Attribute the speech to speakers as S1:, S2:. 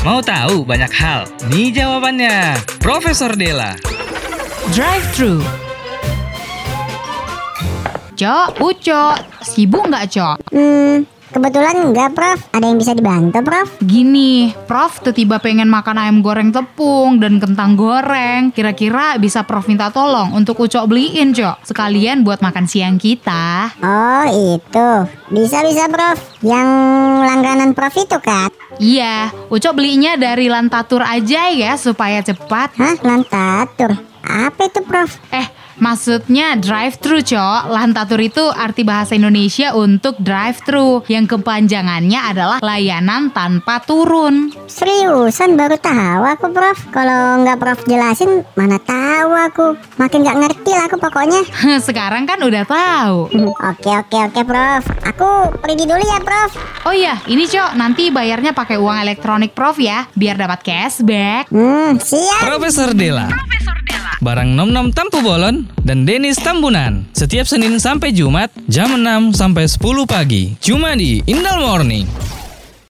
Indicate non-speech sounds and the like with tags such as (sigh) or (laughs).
S1: Mau tahu banyak hal? Nih jawabannya. Profesor Della.
S2: Drive thru.
S3: Cok, Uco, sibuk nggak Cok?
S4: Hmm, kebetulan enggak, Prof. Ada yang bisa dibantu, Prof?
S3: Gini, Prof tiba-tiba pengen makan ayam goreng tepung dan kentang goreng. Kira-kira bisa Prof minta tolong untuk Uco beliin, Cok. Sekalian buat makan siang kita.
S4: Oh, itu. Bisa-bisa, Prof. Yang langganan Prof itu, kan?
S3: Iya, Uco belinya dari Lantatur aja ya supaya cepat.
S4: Hah, lantatur. Apa itu, Prof?
S3: Eh, maksudnya drive-thru, Cok. Lantatur itu arti bahasa Indonesia untuk drive-thru yang kepanjangannya adalah layanan tanpa turun.
S4: Seriusan baru tahu aku, Prof. Kalau nggak Prof jelasin, mana tahu aku. Makin nggak ngerti lah aku pokoknya. (laughs)
S3: (laughs) Sekarang kan udah tahu.
S4: Oke, oke, oke, Prof. Aku pergi dulu ya, Prof.
S3: Oh iya, ini Cok, nanti bayarnya pakai uang elektronik Prof ya, biar dapat cashback.
S4: Hmm, siap.
S1: Profesor Della. Barang Nom Nom Tampu Bolon dan Denis Tambunan. Setiap Senin sampai Jumat jam 6 sampai 10 pagi. Cuma di Indal Morning.